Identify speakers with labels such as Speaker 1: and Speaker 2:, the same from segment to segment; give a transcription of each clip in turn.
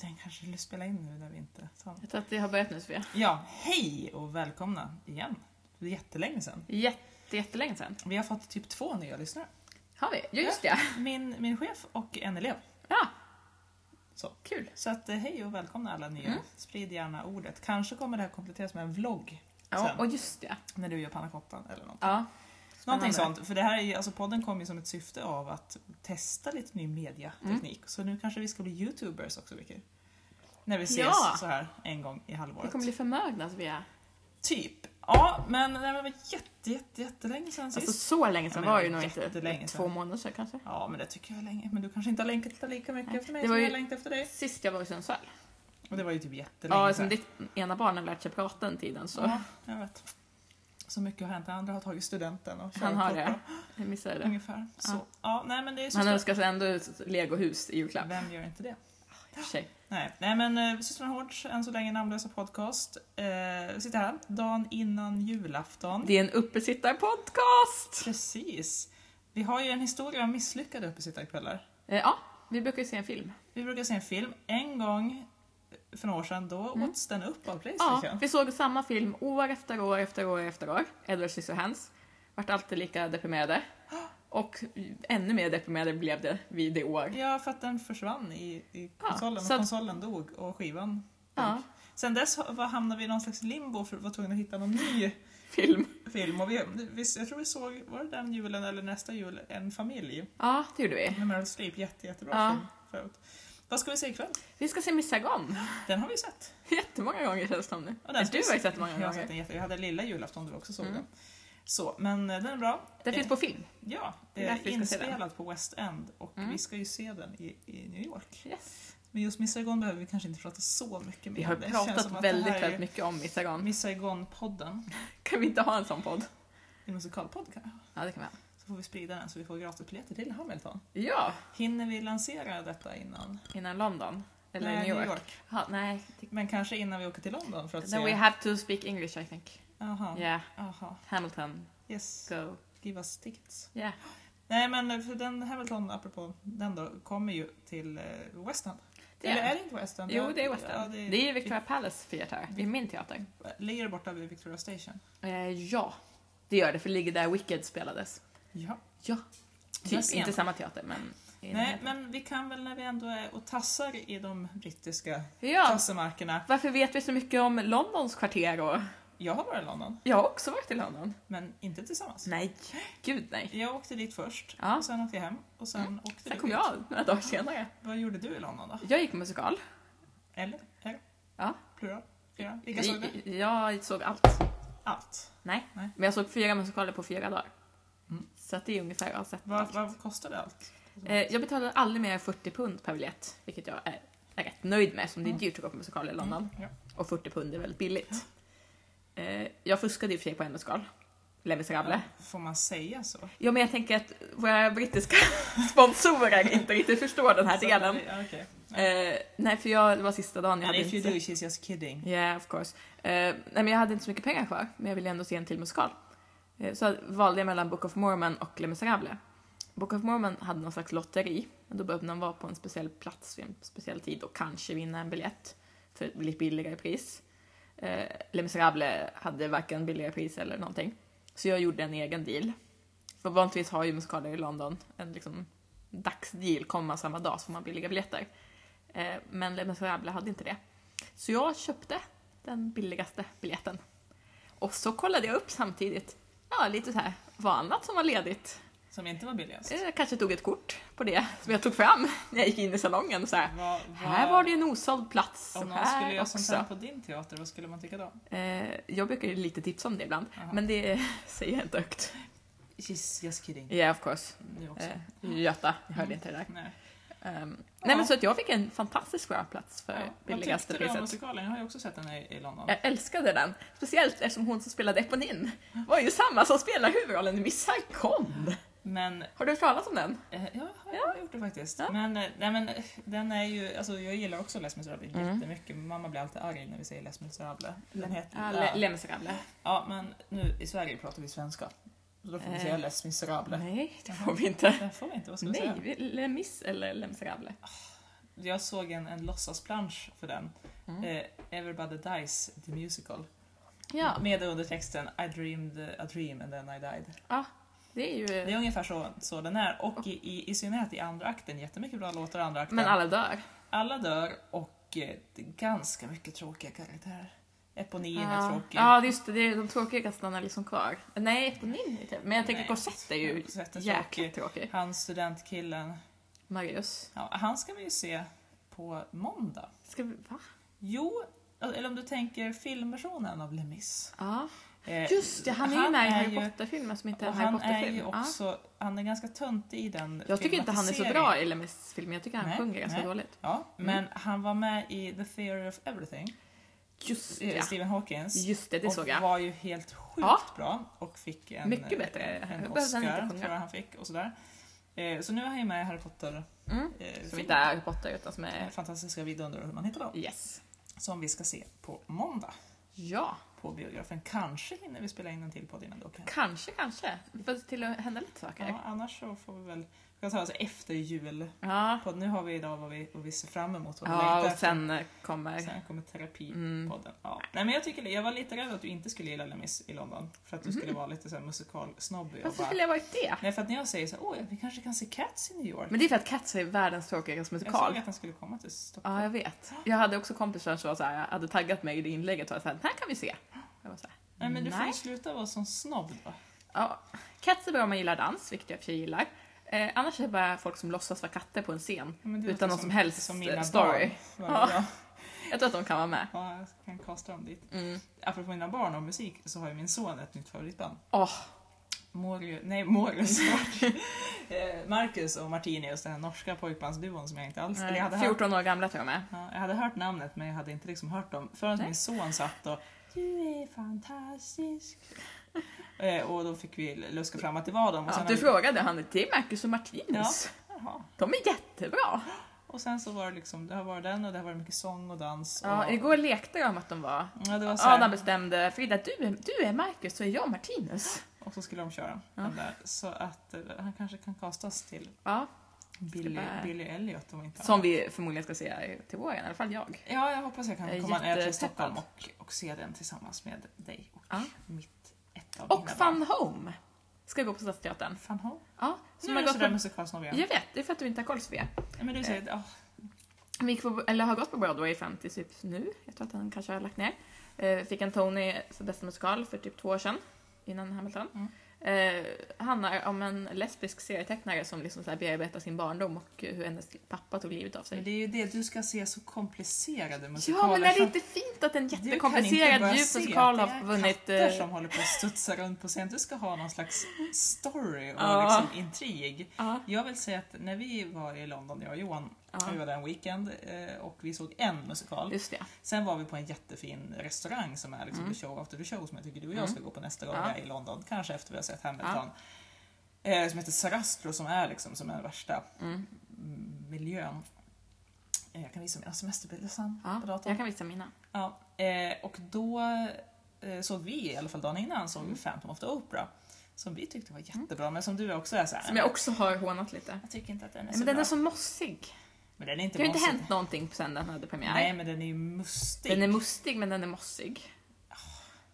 Speaker 1: kanske skulle spela in nu när vi inte sa något.
Speaker 2: Jag tror att det har börjat nu Sofia.
Speaker 1: Ja, hej och välkomna igen. Det är jättelänge sedan.
Speaker 2: Jätte, jättelänge sedan.
Speaker 1: Vi har fått typ två nya lyssnare.
Speaker 2: Har vi? Ja, just det.
Speaker 1: Min, min chef och en elev.
Speaker 2: Ja,
Speaker 1: Så,
Speaker 2: kul.
Speaker 1: så att, eh, hej och välkomna alla nya.
Speaker 2: Mm.
Speaker 1: Sprid gärna ordet. Kanske kommer det här kompletteras med en vlogg
Speaker 2: Ja,
Speaker 1: sen,
Speaker 2: och just det.
Speaker 1: när du gör pannacottan eller något.
Speaker 2: Ja.
Speaker 1: Någonting
Speaker 2: Spännande.
Speaker 1: sånt. För det här är, ju- alltså podden kom ju som ett syfte av att testa lite ny mediateknik.
Speaker 2: Mm.
Speaker 1: Så nu kanske vi ska bli youtubers också, Vicky. När vi ses
Speaker 2: Ja.
Speaker 1: så här en gång i halvåret.
Speaker 2: Vi kommer bli förmögna Sofia.
Speaker 1: Typ. Ja, men nej, men det var jätte, jätte, jättelänge sedan sist.
Speaker 2: Alltså så länge sedan
Speaker 1: Ja, men
Speaker 2: var
Speaker 1: det
Speaker 2: ju
Speaker 1: var
Speaker 2: nog inte.
Speaker 1: jättelänge sedan.
Speaker 2: Två månader sedan kanske.
Speaker 1: Ja, men det tycker jag är länge. Men du kanske inte har längtat lika mycket
Speaker 2: Nej,
Speaker 1: efter mig
Speaker 2: det
Speaker 1: som
Speaker 2: var
Speaker 1: jag
Speaker 2: ju-
Speaker 1: längtat efter dig.
Speaker 2: Sist jag var i Sundsvall.
Speaker 1: Och det var ju typ jättelänge
Speaker 2: Ja, som
Speaker 1: sedan.
Speaker 2: ditt ena barn har lärt sig prata alltså. den tiden så
Speaker 1: Ja, jag vet. Så mycket har hänt. Den andra har tagit studenten och
Speaker 2: han har
Speaker 1: körkort
Speaker 2: det. Jag missade
Speaker 1: och-
Speaker 2: det.
Speaker 1: Ungefär. Så. Ja, nej men det är
Speaker 2: Han
Speaker 1: systrarna.
Speaker 2: önskar sig ändå ett legohus i julklapp.
Speaker 1: Vem gör inte det?
Speaker 2: I och för sig.
Speaker 1: Nej, nej men eh, Systrarna Hårds, än så länge namnlösa podcast. Eh, sitter här dagen innan julafton.
Speaker 2: Det är en uppesittarpodcast!
Speaker 1: Precis. Vi har ju en historia om misslyckade uppesittarkvällar.
Speaker 2: Eh, Ja, vi brukar ju se en film.
Speaker 1: Vi brukar se en film. En gång för några år sedan, då åts den upp av
Speaker 2: Mm. Ja,
Speaker 1: Playstation.
Speaker 2: vi såg samma film år efter år efter år efter år. Edward Scissorhands. Vart alltid lika deprimerade. Och ännu mer deprimerade blev det vid i år.
Speaker 1: Ja, för att den försvann i, i
Speaker 2: Ja,
Speaker 1: konsolen.
Speaker 2: så att-
Speaker 1: Konsolen dog och skivan dog.
Speaker 2: Ja,
Speaker 1: Sen dess har- var- hamnade vi i någon slags limbo för vi var tvungna att hitta någon ny
Speaker 2: film.
Speaker 1: film. Och vi, vi, jag tror vi såg, var det den julen eller nästa jul, En familj
Speaker 2: Ja, det gjorde vi.
Speaker 1: med Meryl Streep. Jätte, jättebra
Speaker 2: Eh. Ja.
Speaker 1: film. Förut. Vad ska vi se ikväll?
Speaker 2: Vi ska se Missagon.
Speaker 1: Den har vi sett.
Speaker 2: Jättemånga gånger känns det som nu.
Speaker 1: Och den ska
Speaker 2: Du
Speaker 1: vi
Speaker 2: har ju
Speaker 1: se-
Speaker 2: sett den många
Speaker 1: Jag har sett
Speaker 2: gånger.
Speaker 1: den jätte... Vi hade lilla julafton då vi också såg
Speaker 2: Mm.
Speaker 1: den. Så, men eh, den är bra.
Speaker 2: Den finns på film.
Speaker 1: Ja,
Speaker 2: Det är
Speaker 1: det är
Speaker 2: därför vi ska se den.
Speaker 1: inspelat på West End och
Speaker 2: Mm.
Speaker 1: vi ska ju se den i, i New York.
Speaker 2: Yes.
Speaker 1: Men just Miss Saigon behöver vi kanske inte prata så mycket mer
Speaker 2: Vi har
Speaker 1: om. Det känns
Speaker 2: pratat
Speaker 1: som att det
Speaker 2: väldigt,
Speaker 1: här är
Speaker 2: väldigt mycket om Missagon.
Speaker 1: Miss Saigon-podden,
Speaker 2: Kan vi inte ha en sån podd?
Speaker 1: en musikalpodd kanske.
Speaker 2: Ja, det kan vi ha.
Speaker 1: Så får vi sprida den så vi får gratisbiljetter till Hamilton.
Speaker 2: Ja,
Speaker 1: Hinner vi lansera detta innan?
Speaker 2: innan London. Eller
Speaker 1: Nej,
Speaker 2: New York. Ja, nej.
Speaker 1: Men kanske innan vi åker till London för att
Speaker 2: Then we
Speaker 1: se.
Speaker 2: have to speak English I think.
Speaker 1: Aha.
Speaker 2: Yeah,
Speaker 1: Aha.
Speaker 2: Hamilton,
Speaker 1: Yes,
Speaker 2: go.
Speaker 1: give us tickets.
Speaker 2: Yeah.
Speaker 1: Nej men för den Hamilton, apropå den då, kommer ju till eh, West End.
Speaker 2: Det
Speaker 1: Eller
Speaker 2: är
Speaker 1: är
Speaker 2: det.
Speaker 1: det inte West End?
Speaker 2: Jo,
Speaker 1: Jag-
Speaker 2: det är West End.
Speaker 1: ja,
Speaker 2: det, är... ju Victoria Palace teater. Det är min teater.
Speaker 1: Ligger det borta vid Victoria Station?
Speaker 2: Eh, ja, det gör det, för det ligger där Wicked spelades.
Speaker 1: Ja.
Speaker 2: Ja.
Speaker 1: Där
Speaker 2: Typ,
Speaker 1: ser
Speaker 2: inte
Speaker 1: man.
Speaker 2: samma teater, men... i
Speaker 1: Nej,
Speaker 2: närheten.
Speaker 1: men vi kan väl när vi ändå är och tassar i de brittiska
Speaker 2: Ja,
Speaker 1: tassemarkerna.
Speaker 2: varför vet vi så mycket om Londons kvarter? Och...
Speaker 1: Jag har varit i London,
Speaker 2: Jag har också varit i London.
Speaker 1: men inte tillsammans.
Speaker 2: Nej, gud nej.
Speaker 1: Jag åkte dit först,
Speaker 2: Ja.
Speaker 1: och sen åkte jag hem och sen åkte
Speaker 2: Sen
Speaker 1: du
Speaker 2: kom
Speaker 1: dit.
Speaker 2: jag några dagar senare.
Speaker 1: Vad gjorde du i London då?
Speaker 2: Jag gick på musikal.
Speaker 1: Eller? Eller?
Speaker 2: Ja.
Speaker 1: Plural? Fyra? Vilka såg du?
Speaker 2: Jag såg allt.
Speaker 1: Allt.
Speaker 2: Nej.
Speaker 1: Nej.
Speaker 2: men jag såg fyra musikaler på fyra dagar.
Speaker 1: Mm.
Speaker 2: Så att det är ungefär jag har sett
Speaker 1: Vad,
Speaker 2: allt.
Speaker 1: vad kostade allt?
Speaker 2: Eh, jag betalade aldrig mer än 40 pund per biljett, vilket jag är, är rätt nöjd med som det är dyrt att gå på musikaler i London.
Speaker 1: Mm, Ja.
Speaker 2: Och 40 pund är väldigt billigt. Eh, jag fuskade i och för sig på en musikal. Les Misérables.
Speaker 1: Får man säga så?
Speaker 2: Ja, men jag tänker att våra brittiska sponsorer inte riktigt förstår den här
Speaker 1: Så-
Speaker 2: delen.
Speaker 1: ja, Okej.
Speaker 2: Eh, Alltså, nej, för jag, det var sista dagen jag
Speaker 1: And
Speaker 2: hade
Speaker 1: if you
Speaker 2: inte...
Speaker 1: do, she's just kidding.
Speaker 2: Yeah, of course. Eh, nej, men jag hade inte så mycket pengar kvar, men jag ville ändå se en till musikal. Eh, så valde jag mellan Book of Mormon och Les Misérables. Book of Mormon hade någon slags lotteri. Då behövde man vara på en speciell plats vid en speciell tid och kanske vinna en biljett för ett lite billigare pris. Eh, Les Misérables hade varken billigare pris eller någonting. Så jag gjorde en egen deal. För vanligtvis har ju musikaler i London en liksom dagsdeal, kommer man samma dag så får man billiga biljetter. Eh, men Les Misérables hade inte det. Så jag köpte den billigaste biljetten. Och så kollade jag upp samtidigt, ja lite så här, vad annat som var ledigt.
Speaker 1: Som inte var billigast.
Speaker 2: Eh, Jag kanske tog ett kort på det som jag tog fram när jag gick in i salongen och så här.
Speaker 1: Vad- vad-
Speaker 2: Här var det ju en osåld plats.
Speaker 1: Om
Speaker 2: och
Speaker 1: någon skulle
Speaker 2: här
Speaker 1: göra sånt här
Speaker 2: också.
Speaker 1: på din teater, vad skulle man tycka då?
Speaker 2: Eh, jag brukar ju lite tipsa om det ibland,
Speaker 1: Jaha.
Speaker 2: men det säger jag inte högt.
Speaker 1: She's just kidding.
Speaker 2: Yeah of course.
Speaker 1: Nu också.
Speaker 2: Eh, Göta, jag hörde
Speaker 1: Mm.
Speaker 2: inte det där.
Speaker 1: Nej.
Speaker 2: Ehm, Nej men så att jag fick en fantastisk bra plats för billigaste
Speaker 1: Vad tyckte du om
Speaker 2: priset.
Speaker 1: musikalen? Jag har ju också sett den i, i London.
Speaker 2: Jag älskade den. Speciellt eftersom hon som spelade Eponin var ju samma som spelar huvudrollen i Miss Saigon.
Speaker 1: Men, eh,
Speaker 2: Har du hört talas om den?
Speaker 1: ja, jag har jag gjort det faktiskt.
Speaker 2: Ja.
Speaker 1: Men, eh, nej, men eh, den är ju, alltså, jag gillar också Les Misérables
Speaker 2: Mm.
Speaker 1: jättemycket. Mamma blir alltid arg när vi säger Les Misérables. Den heter,
Speaker 2: Ja,
Speaker 1: ja.
Speaker 2: Le- Les Misérables.
Speaker 1: ja, men nu i Sverige pratar vi svenska. Så då får vi
Speaker 2: Eh.
Speaker 1: säga Les Misérables.
Speaker 2: Nej, det får vi inte.
Speaker 1: Det får vi inte, vad ska vi
Speaker 2: Nej,
Speaker 1: säga?
Speaker 2: vi- Les Mis eller Les Misérables.
Speaker 1: jag såg en, en låtsasplansch för den.
Speaker 2: Mm.
Speaker 1: Eh, Everybody Dies, The Musical.
Speaker 2: Ja,
Speaker 1: Med undertexten I dreamed a dream and then I died.
Speaker 2: det är
Speaker 1: Det
Speaker 2: ju...
Speaker 1: är ungefär så, så den är. Och i, i, i synnerhet i andra akten, jättemycket bra låtar i andra akten.
Speaker 2: Men alla dör.
Speaker 1: Alla dör och eh, det är ganska mycket tråkiga karaktärer. Eponin är
Speaker 2: Ja,
Speaker 1: tråkig.
Speaker 2: ja just det, det är de tråkiga kastarna liksom kvar. Nej, Eponin är trevlig. Men jag tänker
Speaker 1: Nej,
Speaker 2: Corsette är ju
Speaker 1: Corsette är
Speaker 2: jäkligt tråkig.
Speaker 1: Han studentkillen,
Speaker 2: Marius.
Speaker 1: ja, han ska vi ju se på måndag.
Speaker 2: Ska vi... Va?
Speaker 1: Jo, eller om du tänker filmversionen av Lemis.
Speaker 2: Ja.
Speaker 1: Eh,
Speaker 2: Just det, han är ju med i Harry Potter-filmen som inte är
Speaker 1: Och
Speaker 2: en Harry
Speaker 1: han är ju
Speaker 2: Potter-film. Ja.
Speaker 1: också, han är ganska töntig i den
Speaker 2: Jag tycker inte han är så
Speaker 1: filmatiseringen.
Speaker 2: bra i Mm. Lemis film, jag tycker han
Speaker 1: Nej,
Speaker 2: sjunger ganska
Speaker 1: nej.
Speaker 2: dåligt.
Speaker 1: Ja, men han var med i The Theory of Everything,
Speaker 2: Just
Speaker 1: eh,
Speaker 2: ja.
Speaker 1: Stephen Hawkins.
Speaker 2: Just det, det
Speaker 1: och
Speaker 2: såg jag.
Speaker 1: var ju helt sjukt
Speaker 2: Ja.
Speaker 1: bra och fick en, eh,
Speaker 2: Mycket bättre.
Speaker 1: en
Speaker 2: Behövde han
Speaker 1: Oscar,
Speaker 2: inte
Speaker 1: han
Speaker 2: sjunga.
Speaker 1: tror jag han fick. Och sådär. Eh, Så nu är han ju med i Harry Potter.
Speaker 2: Mm.
Speaker 1: eh,
Speaker 2: Som
Speaker 1: filmen.
Speaker 2: inte är Harry Potter utan som
Speaker 1: Eh,
Speaker 2: är...
Speaker 1: Fantastiska vidunder och hur man hittar dem.
Speaker 2: Yes.
Speaker 1: Som vi ska se på måndag
Speaker 2: Ja,
Speaker 1: på biografen. Kanske hinner vi spela in en till podd innan då. kan-
Speaker 2: kanske, kanske. Det får till att hända lite saker.
Speaker 1: Ja, annars så får vi väl vi kan ta oss efter jul.
Speaker 2: Ja,
Speaker 1: Podd. Nu har vi idag vad vi, vad vi ser fram emot. Vad vi
Speaker 2: ja
Speaker 1: längtar
Speaker 2: och sen eh, kommer...
Speaker 1: efter. sen kommer terapipodden.
Speaker 2: Mm.
Speaker 1: Ja. Nej, men jag, tycker, jag var lite rädd att du inte skulle gilla Les Mis i London. För att du skulle vara lite så här musikalsnobbig. och
Speaker 2: Mm. Varför
Speaker 1: bara-
Speaker 2: skulle jag varit det?
Speaker 1: Nej, för att när jag säger så här, åh, vi kanske kan se Cats i New York.
Speaker 2: Men det är för att Cats är världens tråkigaste
Speaker 1: jag såg
Speaker 2: musikal. Ah,
Speaker 1: att den skulle komma till Stockholm.
Speaker 2: Ja, jag vet. Jag hade också kompisar som var så här, jag hade taggat mig i det inlägget och var så här, den här kan vi se. Jag var så här,
Speaker 1: Nej, men du får
Speaker 2: Nej.
Speaker 1: ju sluta vara sån snobb då.
Speaker 2: ja. Cats är bra om man gillar dans, vilket jag i och för sig gillar. Eh, annars är det bara folk som låtsas vara katter på en scen.
Speaker 1: Ja, men det låter
Speaker 2: Utan någon som helst eh, story.
Speaker 1: Barn. Vad bra.
Speaker 2: Jag tror att de kan vara med.
Speaker 1: Ja, jag kan kasta dem dit.
Speaker 2: Mm.
Speaker 1: Apropå mina barn och musik så har ju min son ett nytt favoritband.
Speaker 2: Åh.
Speaker 1: Morius, nej Morius, Mark- eh, Marcus och Martinius, den här norska pojkbandsduon som jag inte alls... eller jag hade hört,
Speaker 2: 14 eh, år gamla tror jag med.
Speaker 1: ja, jag hade hört namnet men jag hade inte liksom hört dem förrän
Speaker 2: Nej.
Speaker 1: min son satt och Du är fantastisk. eh, och då fick vi luska fram att det var dem. Och
Speaker 2: Ja,
Speaker 1: sen
Speaker 2: du
Speaker 1: har vi-
Speaker 2: frågade han, det är Marcus och Martinus.
Speaker 1: Jaha.
Speaker 2: De är jättebra.
Speaker 1: Och sen så var det liksom, det har varit den och det har varit mycket sång och dans. Och,
Speaker 2: Ja, igår lekte jag om att de var...
Speaker 1: Ja, det var så här-
Speaker 2: Adam bestämde, Frida du är, du är Marcus och jag Martinus.
Speaker 1: Och så skulle de köra
Speaker 2: Ja.
Speaker 1: den där. Så att eh, han kanske kan kastas till
Speaker 2: Ja,
Speaker 1: Billy,
Speaker 2: bara-
Speaker 1: Billy Elliot om inte
Speaker 2: som
Speaker 1: annat.
Speaker 2: vi förmodligen ska se till våren, i alla fall jag.
Speaker 1: Ja, jag hoppas jag kan
Speaker 2: Jag är
Speaker 1: komma ner till
Speaker 2: jättepeppad.
Speaker 1: Stockholm och, och se den tillsammans med dig och
Speaker 2: Ja.
Speaker 1: mitt ett av
Speaker 2: Och
Speaker 1: mina
Speaker 2: Fun
Speaker 1: barn.
Speaker 2: Home ska gå på Stadsteatern.
Speaker 1: Fan Ho.
Speaker 2: Ja,
Speaker 1: Nu
Speaker 2: som
Speaker 1: är
Speaker 2: har
Speaker 1: du
Speaker 2: gått
Speaker 1: sådär
Speaker 2: på... Eh.
Speaker 1: musikalsnobb igen.
Speaker 2: Jag vet, det är för att du inte har koll Sofia.
Speaker 1: Nej, Men du säger att ah,
Speaker 2: Vi gick på, eller har gått på Broadway fram till typ nu. Jag tror att han kanske har lagt ner. Eh, fick en Tony för bästa musikal för typ två år sedan. Innan Hamilton.
Speaker 1: Mm.
Speaker 2: Eh, handlar om en lesbisk serietecknare som liksom så här bearbetar sin barndom och hur hennes pappa tog livet av sig.
Speaker 1: men det är ju det du ska se så komplicerade musikaler.
Speaker 2: Typ. ja, men är det
Speaker 1: så
Speaker 2: inte fint att en
Speaker 1: att du kan inte
Speaker 2: jättekomplicerad
Speaker 1: börja
Speaker 2: djup
Speaker 1: se
Speaker 2: musikal
Speaker 1: att
Speaker 2: har
Speaker 1: Det är
Speaker 2: vunnit...
Speaker 1: katter
Speaker 2: eh,
Speaker 1: som håller på att studsa runt på scen. Du ska ha någon slags story och
Speaker 2: Ja.
Speaker 1: liksom intrig.
Speaker 2: Ja,
Speaker 1: Jag vill säga att när vi var i London, jag och Johan,
Speaker 2: ja,
Speaker 1: vi var där en weekend eh, och vi såg en musikal.
Speaker 2: just det.
Speaker 1: Sen var vi på en jättefin restaurang som är liksom
Speaker 2: Mm.
Speaker 1: the show after the show som jag tycker du och jag ska gå på nästa gång
Speaker 2: Ja.
Speaker 1: jag är i London. Kanske efter vi har sett Hamilton. Eh, som heter Sarastro som är liksom som är den värsta
Speaker 2: Mm.
Speaker 1: mm, miljön. Eh, jag kan visa mina semesterbilder sen
Speaker 2: Ja,
Speaker 1: på
Speaker 2: jag
Speaker 1: datorn.
Speaker 2: kan visa mina.
Speaker 1: Ja, eh, och då eh, såg vi, i alla fall dagen innan, såg vi
Speaker 2: Mm.
Speaker 1: Phantom of the Opera. Som vi tyckte var jättebra men som du också är såhär.
Speaker 2: Som jag också har hånat lite.
Speaker 1: jag tycker inte att den är så
Speaker 2: Men den
Speaker 1: bra.
Speaker 2: är så mossig.
Speaker 1: Men den är inte
Speaker 2: Det har inte
Speaker 1: mossig.
Speaker 2: hänt någonting sen den hade premiär.
Speaker 1: Nej men den är ju mustig.
Speaker 2: Den är mustig men den är mossig.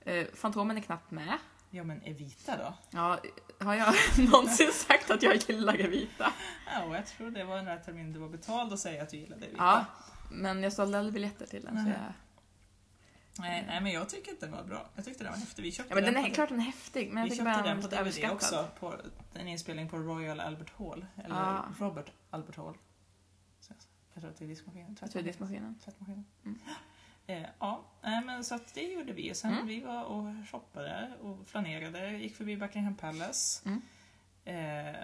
Speaker 2: Eh, Fantomen är knappt med.
Speaker 1: Ja men Evita då?
Speaker 2: Ja, har jag någonsin sagt att jag gillar Evita?
Speaker 1: Ja, och jag tror det var den här terminen du var betald att säga att du gillade Evita.
Speaker 2: Ja, men jag sålde aldrig biljetter till den. Så
Speaker 1: Nej.
Speaker 2: jag...
Speaker 1: Nej, nej, men jag tycker att den var bra. Jag tyckte den var häftig. Vi köpte
Speaker 2: ja, men den
Speaker 1: på-
Speaker 2: är klart den är häftig, men jag
Speaker 1: vi
Speaker 2: tycker
Speaker 1: köpte
Speaker 2: bara
Speaker 1: den på
Speaker 2: lite
Speaker 1: DVD
Speaker 2: överskattad.
Speaker 1: också. På en inspelning på Royal Albert Hall. Eller
Speaker 2: Ah.
Speaker 1: Robert Albert Hall. Så Jag tror att det är diskmaskinen.
Speaker 2: Jag tror det är diskmaskinen.
Speaker 1: Tvättmaskinen.
Speaker 2: Mm.
Speaker 1: Eh, ja, nej, men så att det gjorde vi. Sen
Speaker 2: Mm.
Speaker 1: vi var och shoppade och flanerade. Gick förbi Buckingham Palace.
Speaker 2: Mm.
Speaker 1: Eh,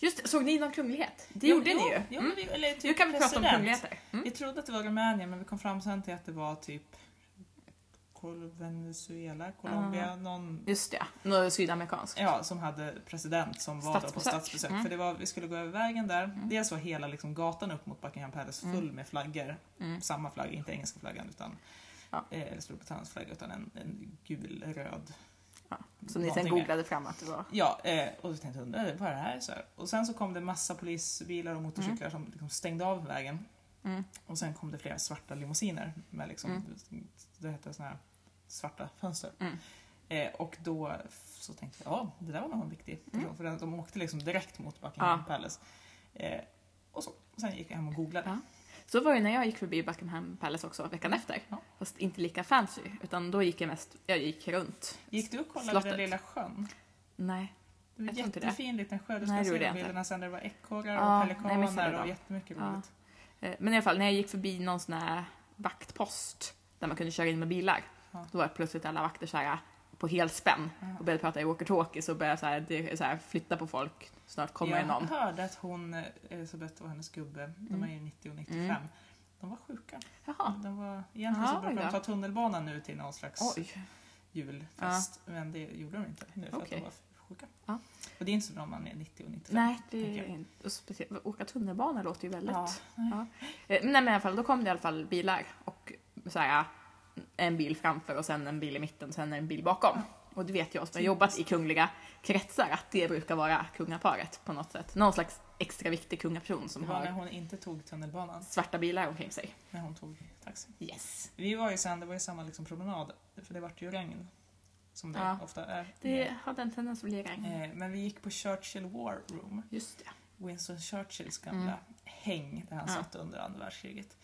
Speaker 2: Just det, såg ni någon kunglighet? Det
Speaker 1: jo,
Speaker 2: gjorde
Speaker 1: jo,
Speaker 2: ni ju.
Speaker 1: Jo,
Speaker 2: Mm.
Speaker 1: vi, eller typ
Speaker 2: Nu kan vi prata om
Speaker 1: president.
Speaker 2: kungligheter. Mm.
Speaker 1: Vi trodde att det var Rumänien men vi kom fram sen till att det var typ Col- Venezuela, Colombia,
Speaker 2: Ah.
Speaker 1: någon
Speaker 2: Just det, något sydamerikanskt.
Speaker 1: ja, som hade president som var då på
Speaker 2: Statsbesök.
Speaker 1: statsbesök.
Speaker 2: Mm.
Speaker 1: För det var, vi skulle gå över vägen där.
Speaker 2: Mm.
Speaker 1: Dels var hela liksom, gatan upp mot Buckingham Palace full med flaggor.
Speaker 2: Mm.
Speaker 1: Samma flagga, inte engelska flaggan utan
Speaker 2: Ja.
Speaker 1: eh, eller Storbritanniens flagga utan en, en gul, röd.
Speaker 2: Ja, Som ni sen
Speaker 1: någonting mer.
Speaker 2: googlade fram att det var.
Speaker 1: Ja, eh, och då tänkte jag undrar vad är det här? Så här. Och sen så kom det massa polisbilar och motorcyklar som liksom stängde av vägen.
Speaker 2: Mm.
Speaker 1: Och sen kom det flera svarta limousiner med liksom, det hette såna här svarta fönster.
Speaker 2: Mm.
Speaker 1: Eh, och då f- så tänkte jag, ja det där var nog en viktig person. För den- de åkte liksom direkt mot Buckingham
Speaker 2: Mm. Ja.
Speaker 1: Palace. Eh, och så, sen gick jag hem och googlade.
Speaker 2: Ja. Så var det när jag gick förbi Buckingham Palace också veckan efter.
Speaker 1: Ja.
Speaker 2: Fast inte lika fancy, utan då gick jag mest, jag gick runt.
Speaker 1: Gick du och kollade
Speaker 2: Slottet.
Speaker 1: den lilla sjön?
Speaker 2: Nej.
Speaker 1: Det var
Speaker 2: Jag tror inte det.
Speaker 1: jättefin liten sjö. Du
Speaker 2: Nej, det
Speaker 1: ska se
Speaker 2: gjorde jag
Speaker 1: de
Speaker 2: inte.
Speaker 1: bilderna sen. där Det var ekorrar
Speaker 2: Ja,
Speaker 1: och
Speaker 2: nej, missade
Speaker 1: pelikaner
Speaker 2: det
Speaker 1: och
Speaker 2: då.
Speaker 1: jättemycket
Speaker 2: Ja.
Speaker 1: roligt.
Speaker 2: Eh, Men i alla fall, när jag gick förbi någon sån här vaktpost där man kunde köra in med bilar,
Speaker 1: Ja.
Speaker 2: då var det plötsligt alla vakter så här på helspänn
Speaker 1: Ja.
Speaker 2: och började prata i walkie-talkies och började så här, det- så här, flytta på folk. Snart kommer det
Speaker 1: jag
Speaker 2: någon.
Speaker 1: hörde att hon, eh, Elisabeth och hennes gubbe, de är ju 90 och 95,
Speaker 2: Mm.
Speaker 1: de var sjuka.
Speaker 2: Jaha.
Speaker 1: De var, egentligen
Speaker 2: Ja,
Speaker 1: så brukar de
Speaker 2: ja.
Speaker 1: ta tunnelbanan nu till någon slags
Speaker 2: Oj.
Speaker 1: julfest, men det gjorde de inte nu för att
Speaker 2: Okej.
Speaker 1: de var sjuka.
Speaker 2: Ja.
Speaker 1: Och det är inte så bra om man är 90 och 95.
Speaker 2: Nej, det
Speaker 1: tänker jag.
Speaker 2: är inte... och speciellt- Åka tunnelbana låter ju väldigt...
Speaker 1: Ja,
Speaker 2: Eh, Men nej, men i alla fall, då kom det i alla fall bilar och så här, en bil framför och sen en bil i mitten och sen en bil bakom. Och det vet jag som har jobbat i kungliga kretsar att det brukar vara kungaparet på något sätt. Någon slags extra viktig kungaperson som
Speaker 1: det var när
Speaker 2: har
Speaker 1: hon inte tog tunnelbanan,
Speaker 2: svarta bilar omkring sig.
Speaker 1: när hon tog taxi.
Speaker 2: Yes.
Speaker 1: Vi var ju sen, det var ju samma liksom promenad, för det vart ju regn. Som det
Speaker 2: Ja.
Speaker 1: ofta är.
Speaker 2: Det hade en tendens att bli regn.
Speaker 1: Mm. Eh, Men vi gick på Churchill War Room.
Speaker 2: Just det.
Speaker 1: Winston Churchills gamla häng där han
Speaker 2: Mm. Ja.
Speaker 1: satt under andra världskriget.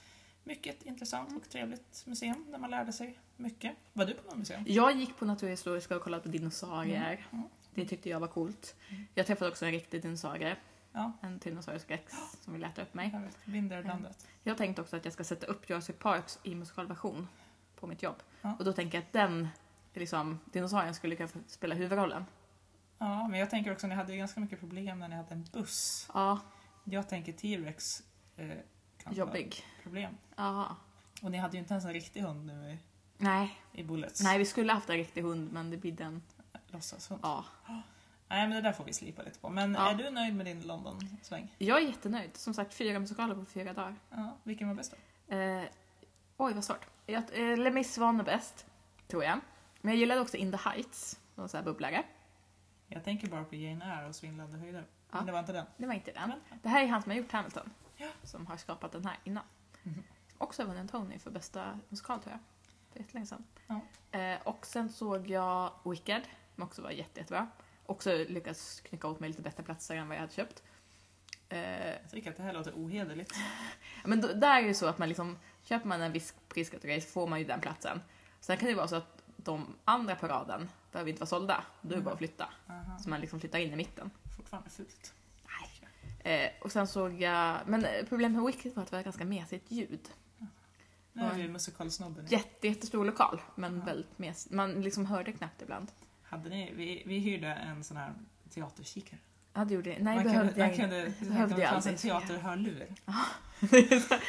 Speaker 1: Mycket intressant och trevligt museum där man lärde sig mycket. Var du på något museum?
Speaker 2: Jag gick på Naturhistoriska och kollade på dinosaurier.
Speaker 1: Mm.
Speaker 2: Det tyckte jag var coolt. Jag träffade också en riktig dinosaurie.
Speaker 1: Ja.
Speaker 2: En Tyrannosaurus rex som vill äta upp mig. Mm.
Speaker 1: Jag vet, Vinderlandet.
Speaker 2: Jag tänkte också att jag ska sätta upp Jurassic Parks i musikalversion på mitt jobb.
Speaker 1: Ja.
Speaker 2: Och då tänker jag att den liksom, dinosaurien skulle kunna få spela huvudrollen.
Speaker 1: Ja, men jag tänker också, ni hade ju ganska mycket problem när ni hade en buss.
Speaker 2: Ja,
Speaker 1: Jag tänker T-Rex eh, kan vara ett
Speaker 2: jobbig.
Speaker 1: problem.
Speaker 2: Ja.
Speaker 1: Och ni hade ju inte ens en riktig hund nu i,
Speaker 2: Nej.
Speaker 1: i Bullets.
Speaker 2: Nej, vi skulle haft en riktig hund men det bidde en...
Speaker 1: Låtsashund.
Speaker 2: Ja.
Speaker 1: Nej, men det där får vi slipa lite på. Men
Speaker 2: Ja.
Speaker 1: är du nöjd med din London-sväng?
Speaker 2: Jag är jättenöjd. Som sagt, fyra musikaler på fyra dagar.
Speaker 1: Ja, vilken var bäst då?
Speaker 2: Eh, oj, vad svårt. Jag, eh, Les Mis var nog bäst, tror jag. Men jag gillade också In the Heights, någon sån här bubblare.
Speaker 1: Jag tänker bara på Jane Eyre och Svindlande höjder.
Speaker 2: Ja.
Speaker 1: Men det var inte den.
Speaker 2: Det var inte den.
Speaker 1: Men-
Speaker 2: Det här är han som har gjort Hamilton.
Speaker 1: Ja.
Speaker 2: Som har skapat den här innan.
Speaker 1: Mhm.
Speaker 2: Också vunnit en Tony för bästa musikal tror jag. För jättelänge sedan.
Speaker 1: Ja.
Speaker 2: Eh, och sen såg jag Wicked, som också var jätte, jättebra. Också lyckats knycka åt mig lite bättre platser än vad jag hade köpt. Eh,
Speaker 1: Jag tycker att det här låter ohederligt.
Speaker 2: men då, där är det ju så att man liksom, köper man en viss priskategori så får man ju den platsen. Sen kan det ju vara så att de andra på raden behöver inte vara sålda. Då är det bara att
Speaker 1: Mm.
Speaker 2: flytta.
Speaker 1: Aha.
Speaker 2: Så man liksom flyttar in i mitten.
Speaker 1: Fortfarande fult.
Speaker 2: Eh, och sen såg jag, men eh, problemet med Wicked var att det var ganska mesigt ljud.
Speaker 1: Nu är vi musikalsnobben. igen.
Speaker 2: Jätte, jättestor lokal, men
Speaker 1: Mm. Ja.
Speaker 2: väldigt mesigt. Man liksom hörde knappt ibland.
Speaker 1: Hade ni, vi, vi hyrde en sån här teaterkikare.
Speaker 2: Ja, det gjorde jag. Nej,
Speaker 1: man
Speaker 2: behövde
Speaker 1: kunde,
Speaker 2: jag
Speaker 1: man kunde,
Speaker 2: inte.
Speaker 1: det
Speaker 2: Behövde jag
Speaker 1: fanns en
Speaker 2: aldrig.
Speaker 1: teaterhörlur.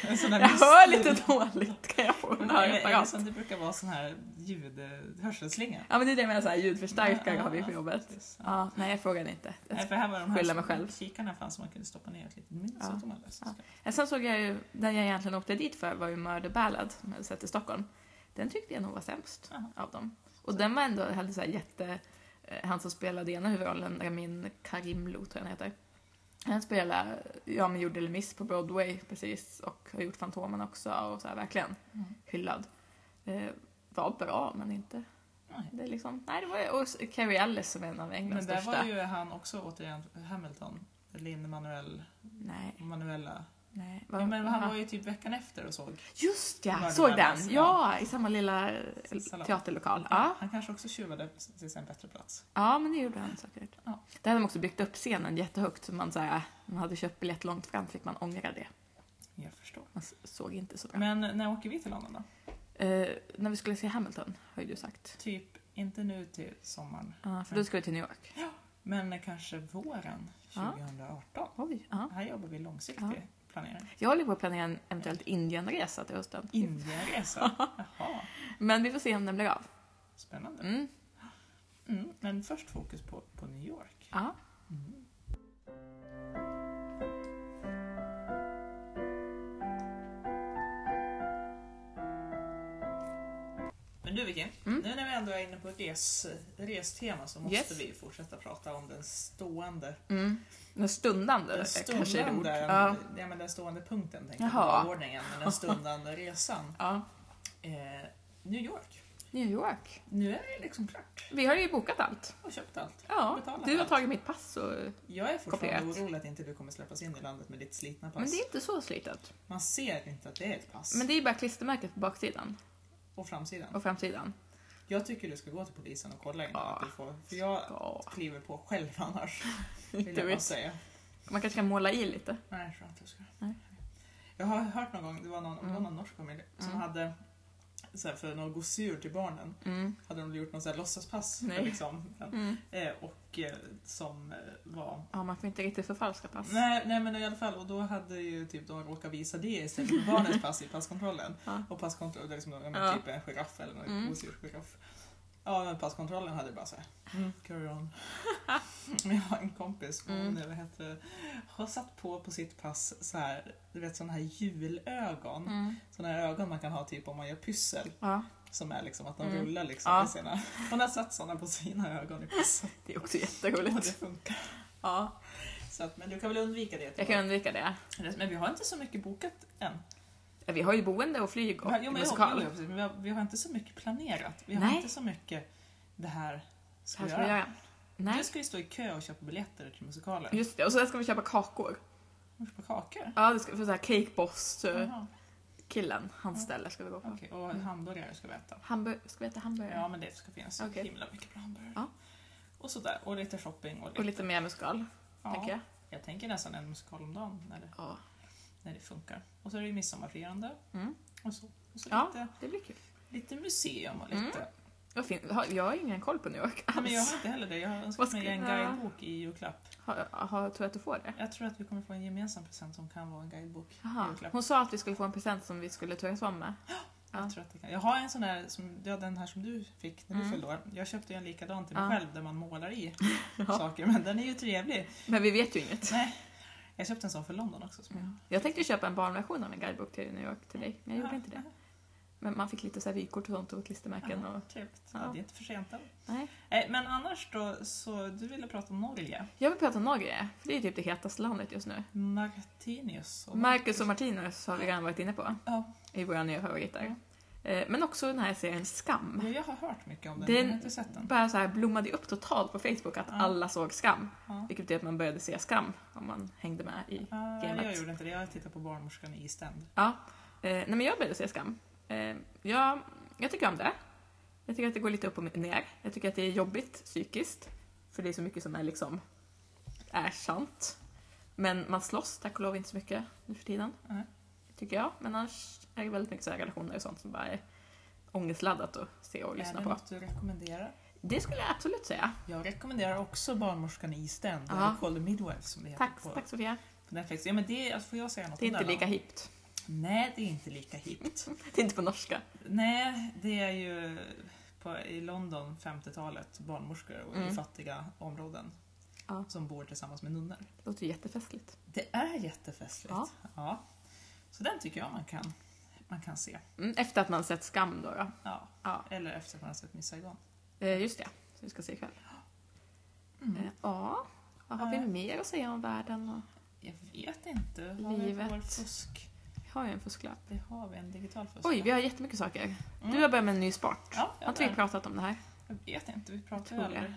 Speaker 1: En sån
Speaker 2: jag
Speaker 1: där
Speaker 2: hör
Speaker 1: visslur.
Speaker 2: lite dåligt, kan jag få en
Speaker 1: Eller- eller
Speaker 2: hörapparat?
Speaker 1: som det brukar vara sån här ljud, eh, hörselslinga.
Speaker 2: Ja, men det är det jag menar, så här, ljudförstärkare
Speaker 1: Ja,
Speaker 2: har vi
Speaker 1: ja,
Speaker 2: på jobbet.
Speaker 1: precis.
Speaker 2: Ja, nej, jag frågade inte.
Speaker 1: Nej, för här var de
Speaker 2: skylla
Speaker 1: här
Speaker 2: mig själv.
Speaker 1: kikarna fanns som man kunde stoppa ner ett litet mynt
Speaker 2: Ja.
Speaker 1: så tog man lös.
Speaker 2: Ja. Eh, Sen såg jag ju, den jag egentligen åkte dit för var ju Murder Ballad, som jag hade sett i Stockholm. Den tyckte jag nog var sämst
Speaker 1: Jaha.
Speaker 2: av dem. Och den var ändå, hade så här jätte... eh, Han som spelade ena huvudrollen, Ramin Karimloo tror jag han heter. Han spelar, ja men gjorde Les Mis på Broadway precis och har gjort Fantomen också och så här verkligen
Speaker 1: Mm.
Speaker 2: hyllad. Eh, var bra men inte,
Speaker 1: Nej.
Speaker 2: det är liksom, nej det var ju, och s- Cary Ellis som är en av Englands
Speaker 1: Men där
Speaker 2: största.
Speaker 1: var ju han också återigen Hamilton, Lin Manuel,
Speaker 2: Nej,
Speaker 1: Manuela.
Speaker 2: nej.
Speaker 1: Ja, men han var ju typ veckan efter och såg.
Speaker 2: Just ja,
Speaker 1: Murder
Speaker 2: såg den!
Speaker 1: Ballads,
Speaker 2: Ja, i samma lilla eh,
Speaker 1: Salong.
Speaker 2: teaterlokal. Ja.
Speaker 1: Han kanske också tjuvade till sig en bättre plats.
Speaker 2: ja, men det gjorde han säkert.
Speaker 1: Ja.
Speaker 2: Där hade de också byggt upp scenen jättehögt, så man, så här, man hade köpt biljett långt fram fick man ångra det.
Speaker 1: Jag förstår.
Speaker 2: Man s- såg inte så bra.
Speaker 1: Men när åker vi till London då?
Speaker 2: Eh, när vi skulle se Hamilton, har ju du sagt.
Speaker 1: Typ, inte nu till sommaren,
Speaker 2: Ja, för då ska vi till New York.
Speaker 1: men kanske våren
Speaker 2: Ja.
Speaker 1: 2018.
Speaker 2: Oj, ja.
Speaker 1: Här jobbar vi långsiktig
Speaker 2: Ja.
Speaker 1: planering.
Speaker 2: Jag håller på att planera en eventuellt Indienresa till hösten.
Speaker 1: Indienresa. Jaha,
Speaker 2: Men vi får se om den blir av.
Speaker 1: spännande.
Speaker 2: Mm.
Speaker 1: Mm, men först fokus på, på New York.
Speaker 2: Ja.
Speaker 1: Mm. Men du, du Vicky,
Speaker 2: Mm.
Speaker 1: nu när vi ändå är inne på res, restema så måste
Speaker 2: Yes.
Speaker 1: vi fortsätta prata om den stående,
Speaker 2: Mm. Den stundande
Speaker 1: den
Speaker 2: eh, kanske är det ord.
Speaker 1: stundande,
Speaker 2: Ja.
Speaker 1: ja. men den stående punkten tänkte jag
Speaker 2: Jaha.
Speaker 1: på ordningen, men den stundande resan.
Speaker 2: ja.
Speaker 1: Eh, New York.
Speaker 2: New York.
Speaker 1: Nu är det liksom klart.
Speaker 2: Vi har ju bokat allt.
Speaker 1: Jag har köpt allt.
Speaker 2: Ja,
Speaker 1: Betalat
Speaker 2: du har
Speaker 1: allt.
Speaker 2: tagit mitt pass och...
Speaker 1: Jag är fortfarande
Speaker 2: Kopierat.
Speaker 1: orolig att inte du kommer släppas in i landet med ditt slitna pass.
Speaker 2: Men det är inte så slitet.
Speaker 1: Man ser inte att det är ett pass.
Speaker 2: Men det är ju bara klistermärket på baksidan
Speaker 1: På framsidan.
Speaker 2: och framsidan.
Speaker 1: Jag tycker du ska gå till polisen och kolla innan
Speaker 2: Ja.
Speaker 1: att du får... För jag
Speaker 2: Ja,
Speaker 1: kliver på själv annars, vill
Speaker 2: inte
Speaker 1: jag bara
Speaker 2: vet.
Speaker 1: säga.
Speaker 2: Man kanske kan måla i lite.
Speaker 1: Nej, jag tror inte jag ska.
Speaker 2: Nej.
Speaker 1: Jag har hört någon gång, det var någon, det var
Speaker 2: Mm.
Speaker 1: någon norsk familj som
Speaker 2: Mm.
Speaker 1: hade så här, för någon gosedjur till barnen
Speaker 2: Mm.
Speaker 1: hade de gjort något så här låtsaspass.
Speaker 2: Nej.
Speaker 1: Liksom,
Speaker 2: Mm.
Speaker 1: Eh, och eh, som eh, var...
Speaker 2: Ja, man får inte riktigt förfalska pass.
Speaker 1: Nej, nej men i alla fall, och då hade ju typ de råkat visa det istället för barnets pass i passkontrollen.
Speaker 2: Ja.
Speaker 1: Och passkontrollen, det är liksom, ja,
Speaker 2: Ja.
Speaker 1: men, typ en giraff eller en
Speaker 2: Mm.
Speaker 1: gosedjursgiraff. Ja, men passkontrollen hade bara så här, mm, carry on. Men jag har en kompis, hon,
Speaker 2: Mm.
Speaker 1: vad heter, det, har satt på på sitt pass så här, du vet sådana här julögon.
Speaker 2: Mm.
Speaker 1: Sådana här ögon man kan ha typ om man gör pyssel.
Speaker 2: Ja,
Speaker 1: Som är liksom att de
Speaker 2: Mm.
Speaker 1: rullar liksom
Speaker 2: Ja.
Speaker 1: i sina... Hon har satt sådana på sina ögon i passet.
Speaker 2: det är också
Speaker 1: Och det
Speaker 2: jätteroligt.
Speaker 1: funkar.
Speaker 2: Ja,
Speaker 1: Så att, men du kan väl undvika det?
Speaker 2: jag kan undvika det.
Speaker 1: Men vi har inte så mycket bokat än.
Speaker 2: Ja, Vi har ju boende och flyg
Speaker 1: Jo,
Speaker 2: och
Speaker 1: men, jo,
Speaker 2: musikal.
Speaker 1: jo, precis, men vi, har, vi har inte så mycket planerat. Vi har
Speaker 2: Nej.
Speaker 1: inte så mycket det här
Speaker 2: Så
Speaker 1: ska
Speaker 2: Här
Speaker 1: vi
Speaker 2: ska vi
Speaker 1: göra.
Speaker 2: göra. Nej, Mm.
Speaker 1: Nu ska vi stå i kö och köpa biljetter till musikalen. Vi
Speaker 2: just det. Och så ska vi köpa kakor.
Speaker 1: ska köpa kakor.
Speaker 2: Ja, det ska, för så här Cake Boss, eh,
Speaker 1: Jaha,
Speaker 2: killen, hans
Speaker 1: Ja.
Speaker 2: ställe ska vi gå på.
Speaker 1: Okej, och hamburgare ska vi äta.
Speaker 2: Hamburg- ska vi äta hamburgare?
Speaker 1: Ja, men det ska finnas så
Speaker 2: Mm. Okej.
Speaker 1: himla mycket bra hamburgare.
Speaker 2: Ja.
Speaker 1: Och sådär, och lite shopping och lite...
Speaker 2: Och lite mer musikal,
Speaker 1: ja,
Speaker 2: tänker jag.
Speaker 1: jag tänker nästan en musikal om dagen när det,
Speaker 2: Ja.
Speaker 1: när det funkar. Och så är det ju midsommarfirande
Speaker 2: Mm.
Speaker 1: och så. Och så
Speaker 2: Ja.
Speaker 1: lite,
Speaker 2: Det blir kul.
Speaker 1: lite museum och
Speaker 2: Mm.
Speaker 1: lite...
Speaker 2: Jag, fin- har- jag har ingen koll på New York alls.
Speaker 1: Nej, men jag har inte heller det. Jag har
Speaker 2: Vad
Speaker 1: önskat
Speaker 2: ska-
Speaker 1: mig en
Speaker 2: ja.
Speaker 1: guidebok i julklapp.
Speaker 2: har, har, tror jag att du får det?
Speaker 1: Jag tror att vi kommer få en gemensam present som kan vara en guidebok.
Speaker 2: Jaha.
Speaker 1: Julklapp.
Speaker 2: Hon sa att vi skulle få en present som vi skulle turas om med. Ja.
Speaker 1: Jag, tror att det kan. jag har en sån här, som, ja, den här som du fick när du
Speaker 2: Mm.
Speaker 1: fyllde år. Jag köpte ju en likadan till mig
Speaker 2: Ja.
Speaker 1: själv där man målar i saker, men den är ju trevlig.
Speaker 2: Men vi vet ju inget.
Speaker 1: Nej, jag köpte en sån för London också. Som jag.
Speaker 2: Ja. Jag tänkte ju köpa en barnversion av en guidebok till New York till dig, men jag gjorde
Speaker 1: Ja,
Speaker 2: inte det. Men man fick lite så här vykort och sånt och klistermärken
Speaker 1: Ja,
Speaker 2: och...
Speaker 1: trevligt.
Speaker 2: Ja.
Speaker 1: Ja. det är inte för sent än.
Speaker 2: Nej.
Speaker 1: Eh, Men annars då, så du ville prata om Norge.
Speaker 2: Jag vill prata om Norge, för det är typ det hetaste landet just nu.
Speaker 1: Martinius. och-
Speaker 2: Marcus och Martinus har vi redan varit inne på,
Speaker 1: ja,
Speaker 2: i våra nya favoriter. Eh, Men också den här serien Skam.
Speaker 1: ja, jag har hört mycket om den,
Speaker 2: Den-
Speaker 1: men jag har inte sett den.
Speaker 2: bara så här blommade upp totalt på Facebook att
Speaker 1: Ja.
Speaker 2: alla såg Skam.
Speaker 1: Ja.
Speaker 2: Vilket betyder att man började se Skam om man hängde med i...
Speaker 1: Ja, jag
Speaker 2: gamet.
Speaker 1: gjorde inte det, jag tittade på Barnmorskan i Eastend.
Speaker 2: Ja. Eh, nej men jag började se Skam. Eh, jag, jag tycker om det. Jag tycker att det går lite upp och ner. Jag tycker att det är jobbigt psykiskt. För det är så mycket som är liksom... är sant. Men man slåss tack och lov inte så mycket nu för tiden.
Speaker 1: Nej.
Speaker 2: Tycker jag. Men annars är det väldigt mycket så här relationer och sånt som bara är ångestladdat att se och
Speaker 1: Är
Speaker 2: lyssna
Speaker 1: det
Speaker 2: på.
Speaker 1: något du rekommenderar?
Speaker 2: Det skulle jag absolut säga.
Speaker 1: Jag rekommenderar också Barnmorskan i Eastend,
Speaker 2: Ja.
Speaker 1: eller Call the Midwife som det heter
Speaker 2: Tack,
Speaker 1: på,
Speaker 2: tack Sofia.
Speaker 1: på Netflix. Ja, men det, är- alltså, får jag säga något
Speaker 2: Det är
Speaker 1: om
Speaker 2: inte
Speaker 1: den
Speaker 2: lika
Speaker 1: då?
Speaker 2: hippt.
Speaker 1: Nej, det är inte lika hippt.
Speaker 2: Det är inte på norska.
Speaker 1: Nej, det är ju på, i London 50-talet barnmorskor och
Speaker 2: Mm.
Speaker 1: i fattiga områden
Speaker 2: Ja.
Speaker 1: som bor tillsammans med nunnor.
Speaker 2: Det låter ju jättefestligt.
Speaker 1: Det är jättefestligt.
Speaker 2: Ja.
Speaker 1: Så den tycker jag man kan, man kan se.
Speaker 2: Mm, efter att man sett Skam då. då.
Speaker 1: Ja.
Speaker 2: Ja.
Speaker 1: Eller efter att man har sett Miss Saigon.
Speaker 2: Eh, just det, så vi ska se ikväll.
Speaker 1: Mm.
Speaker 2: Eh, ja, vad har vi
Speaker 1: Ja.
Speaker 2: mer att säga om världen? Och...
Speaker 1: Jag vet inte. Har
Speaker 2: Livet.
Speaker 1: vi vår fusk?
Speaker 2: Vi har ju en fusklapp.
Speaker 1: Det har vi, en digital fusk.
Speaker 2: Oj, vi har jättemycket saker.
Speaker 1: Mm.
Speaker 2: Du har börjat med en ny sport.
Speaker 1: Ja,
Speaker 2: har inte vi
Speaker 1: jag,
Speaker 2: pratat om det här?
Speaker 1: jag vet inte, vi pratar ju
Speaker 2: Tror jag.
Speaker 1: aldrig.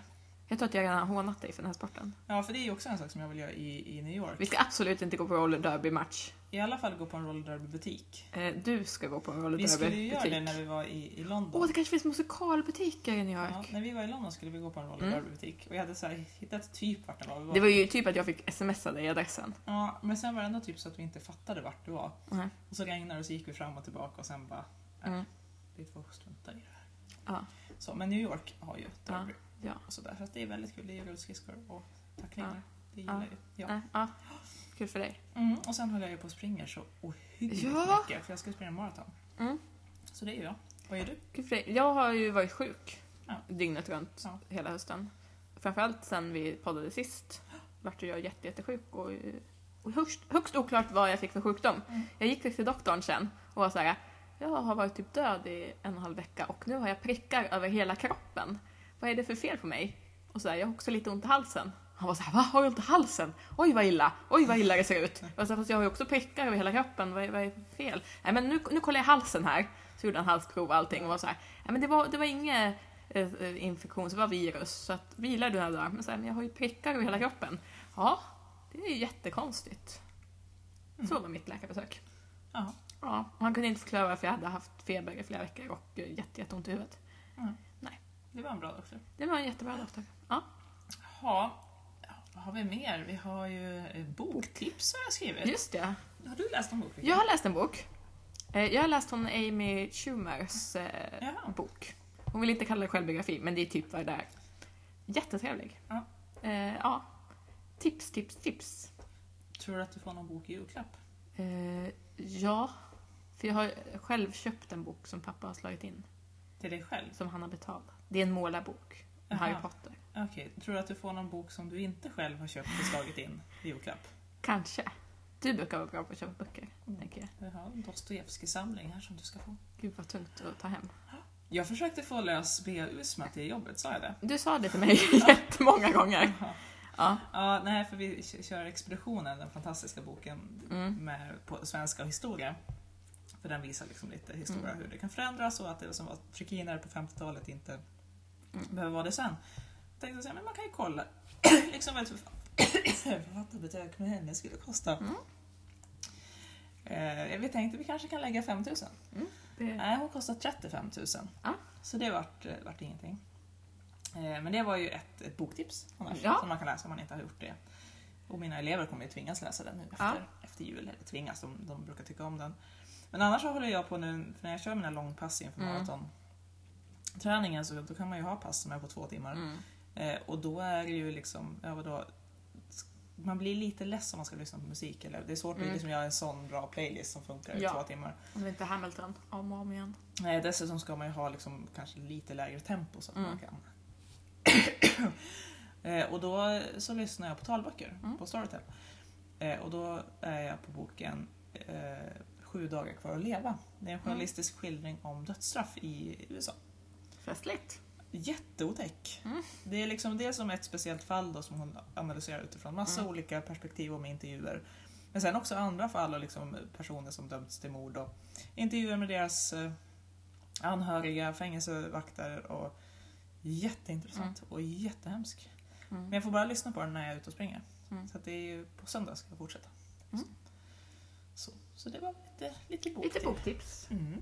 Speaker 2: Jag tror att jag redan har hånat dig för den här sporten.
Speaker 1: Ja, för det är ju också en sak som jag vill göra i, i New York.
Speaker 2: Vi ska absolut inte gå på roller derby-match.
Speaker 1: I alla fall gå på en roller derby-butik.
Speaker 2: Eh, du ska gå på en roller
Speaker 1: Vi skulle ju göra det
Speaker 2: derby-butik.
Speaker 1: när vi var i, i London.
Speaker 2: Åh, det kanske finns musikalbutiker i New
Speaker 1: ja,
Speaker 2: York.
Speaker 1: när vi var i London skulle vi gå på en roller
Speaker 2: Mm.
Speaker 1: derby-butik och jag hade så här hittat typ vart den var. Vi var.
Speaker 2: Det var ju typ att jag fick smsa dig adressen.
Speaker 1: Ja, men sen var det ändå typ så att vi inte fattade vart det var.
Speaker 2: Nej.
Speaker 1: Och så regnade det och så gick vi fram och tillbaka och sen bara,
Speaker 2: Mm.
Speaker 1: vi får strunta i det här.
Speaker 2: Ja.
Speaker 1: Så, men New York har ju derby
Speaker 2: ja.
Speaker 1: och sådär. Så att det är väldigt kul. Det är ju rullskridskor och tacklingar.
Speaker 2: Ja.
Speaker 1: Det gillar
Speaker 2: Ja.
Speaker 1: ju jag.
Speaker 2: Nej, ja. Kul för dig.
Speaker 1: Mm, och sen håller jag ju på och springer så ohyggligt
Speaker 2: Ja.
Speaker 1: mycket för jag ska springa maraton.
Speaker 2: Mm.
Speaker 1: Så det är jag. Vad gör du?
Speaker 2: Gud, Frej, Jag har ju varit sjuk
Speaker 1: Ja.
Speaker 2: dygnet runt
Speaker 1: Ja.
Speaker 2: hela hösten. Framförallt sen vi poddade sist vart jag jätte, jättesjuk och, och högst, högst oklart vad jag fick för sjukdom.
Speaker 1: Mm.
Speaker 2: Jag gick till doktorn sen och var så här, Jag har varit typ död i en och en halv vecka och nu har jag prickar över hela kroppen. Vad är det för fel på mig? Och så här, jag har också lite ont i halsen. Han var så här, va? Har du ont i halsen? Oj vad illa! Oj vad illa det ser ut! Jag var så här, Fast jag har ju också prickar över hela kroppen, vad är, vad är det för fel? Nej men nu, nu kollar jag halsen här. Så gjorde han halsprov och allting och var så här, nej men det var, det var inget eh, eh, infektion, så det var virus. Så att, vilar du några dagar? Men, så här, men jag har ju prickar över hela kroppen. Ja, det är ju jättekonstigt. Så var mitt läkarbesök.
Speaker 1: Ja.
Speaker 2: Ja, och han kunde inte förklara varför jag hade haft feber i flera veckor och eh, jätte, jätteont i huvudet.
Speaker 1: Det var en bra doktor.
Speaker 2: Det var en jättebra doktor. Ja.
Speaker 1: Ja, vad har vi mer? Vi har ju eh, boktips har jag skrivit.
Speaker 2: Just det.
Speaker 1: Har du läst någon bok? Rickard?
Speaker 2: Jag har läst en bok. Eh, Jag har läst hon Amy Schumers eh,
Speaker 1: Jaha.
Speaker 2: bok. Hon vill inte kalla det självbiografi, men det är typ vad det är. Jättetrevlig.
Speaker 1: Ja.
Speaker 2: Eh, ja. Tips, tips, tips.
Speaker 1: Tror du att du får någon bok i julklapp?
Speaker 2: Eh, ja. För jag har själv köpt en bok som pappa har slagit in,
Speaker 1: Till dig själv?
Speaker 2: som han har betalat. Det är en målarbok. om
Speaker 1: Jaha.
Speaker 2: Harry Potter.
Speaker 1: Okej, tror du att du får någon bok som du inte själv har köpt och slagit in i julklapp?
Speaker 2: Kanske. Du brukar vara bra på att köpa böcker, tänker jag.
Speaker 1: Jag har en Dostojevskij-samling här som du ska få.
Speaker 2: Gud vad tungt att ta hem.
Speaker 1: Jag försökte få lös B.A. Usma till jobbet, sa jag det?
Speaker 2: Du sa det till mig jättemånga gånger. Ja.
Speaker 1: Ja, nej, för vi k- kör Expeditionen, den fantastiska boken
Speaker 2: Mm.
Speaker 1: med, på svenska och historia. För den visar liksom lite historia
Speaker 2: Mm.
Speaker 1: hur det kan förändras och att det som var trikiner på 50-talet inte
Speaker 2: Mm.
Speaker 1: behöver vara det sen. Jag tänkte så här, men man kan ju kolla liksom vad ett förfa- författarbesök med henne skulle kosta.
Speaker 2: Mm.
Speaker 1: Eh, vi tänkte vi kanske kan lägga 5 000.
Speaker 2: Det,
Speaker 1: Nej, hon kostar 35 000.
Speaker 2: Ja.
Speaker 1: Så det vart, eh, vart ingenting. Eh, Men det var ju ett, ett boktips annars,
Speaker 2: Ja.
Speaker 1: som man kan läsa om man inte har gjort det. Och mina elever kommer ju tvingas läsa den nu efter,
Speaker 2: Ja.
Speaker 1: efter jul. Eller tvingas, de, de brukar tycka om den. Men annars så håller jag på nu, för när jag kör mina långpass inför
Speaker 2: Mm.
Speaker 1: maratonträningen så då kan man ju ha pass som är på två timmar.
Speaker 2: mm.
Speaker 1: Eh, och då är det ju liksom, ja vadå, man blir lite less om man ska lyssna på musik. Eller? Det är svårt
Speaker 2: Mm.
Speaker 1: att liksom göra en sån bra playlist som funkar i
Speaker 2: Ja.
Speaker 1: två timmar.
Speaker 2: Om det inte är Hamilton, om och om igen.
Speaker 1: Nej, Eh, dessutom ska man ju ha liksom, kanske lite lägre tempo så att
Speaker 2: Mm.
Speaker 1: man kan... eh, och då så lyssnar jag på talböcker
Speaker 2: Mm.
Speaker 1: på Storytel. Eh, och då är jag på boken eh, Sju dagar kvar att leva. Det är
Speaker 2: Mm.
Speaker 1: en journalistisk skildring om dödsstraff i USA.
Speaker 2: Festligt.
Speaker 1: Jätteotäck.
Speaker 2: Mm.
Speaker 1: Det är liksom det som ett speciellt fall då, som hon analyserar utifrån massa
Speaker 2: Mm.
Speaker 1: olika perspektiv och med intervjuer. Men sen också andra fall och liksom personer som dömts till mord och intervjuer med deras eh, anhöriga, fängelsevakter och jätteintressant och jättehemsk. Men
Speaker 2: Mm.
Speaker 1: jag får bara lyssna på den när jag är ute och springer.
Speaker 2: Mm.
Speaker 1: Så att det är ju på söndag ska jag fortsätta.
Speaker 2: Mm.
Speaker 1: Så, så det var lite, lite bok.
Speaker 2: Lite
Speaker 1: till.
Speaker 2: boktips.
Speaker 1: Mm.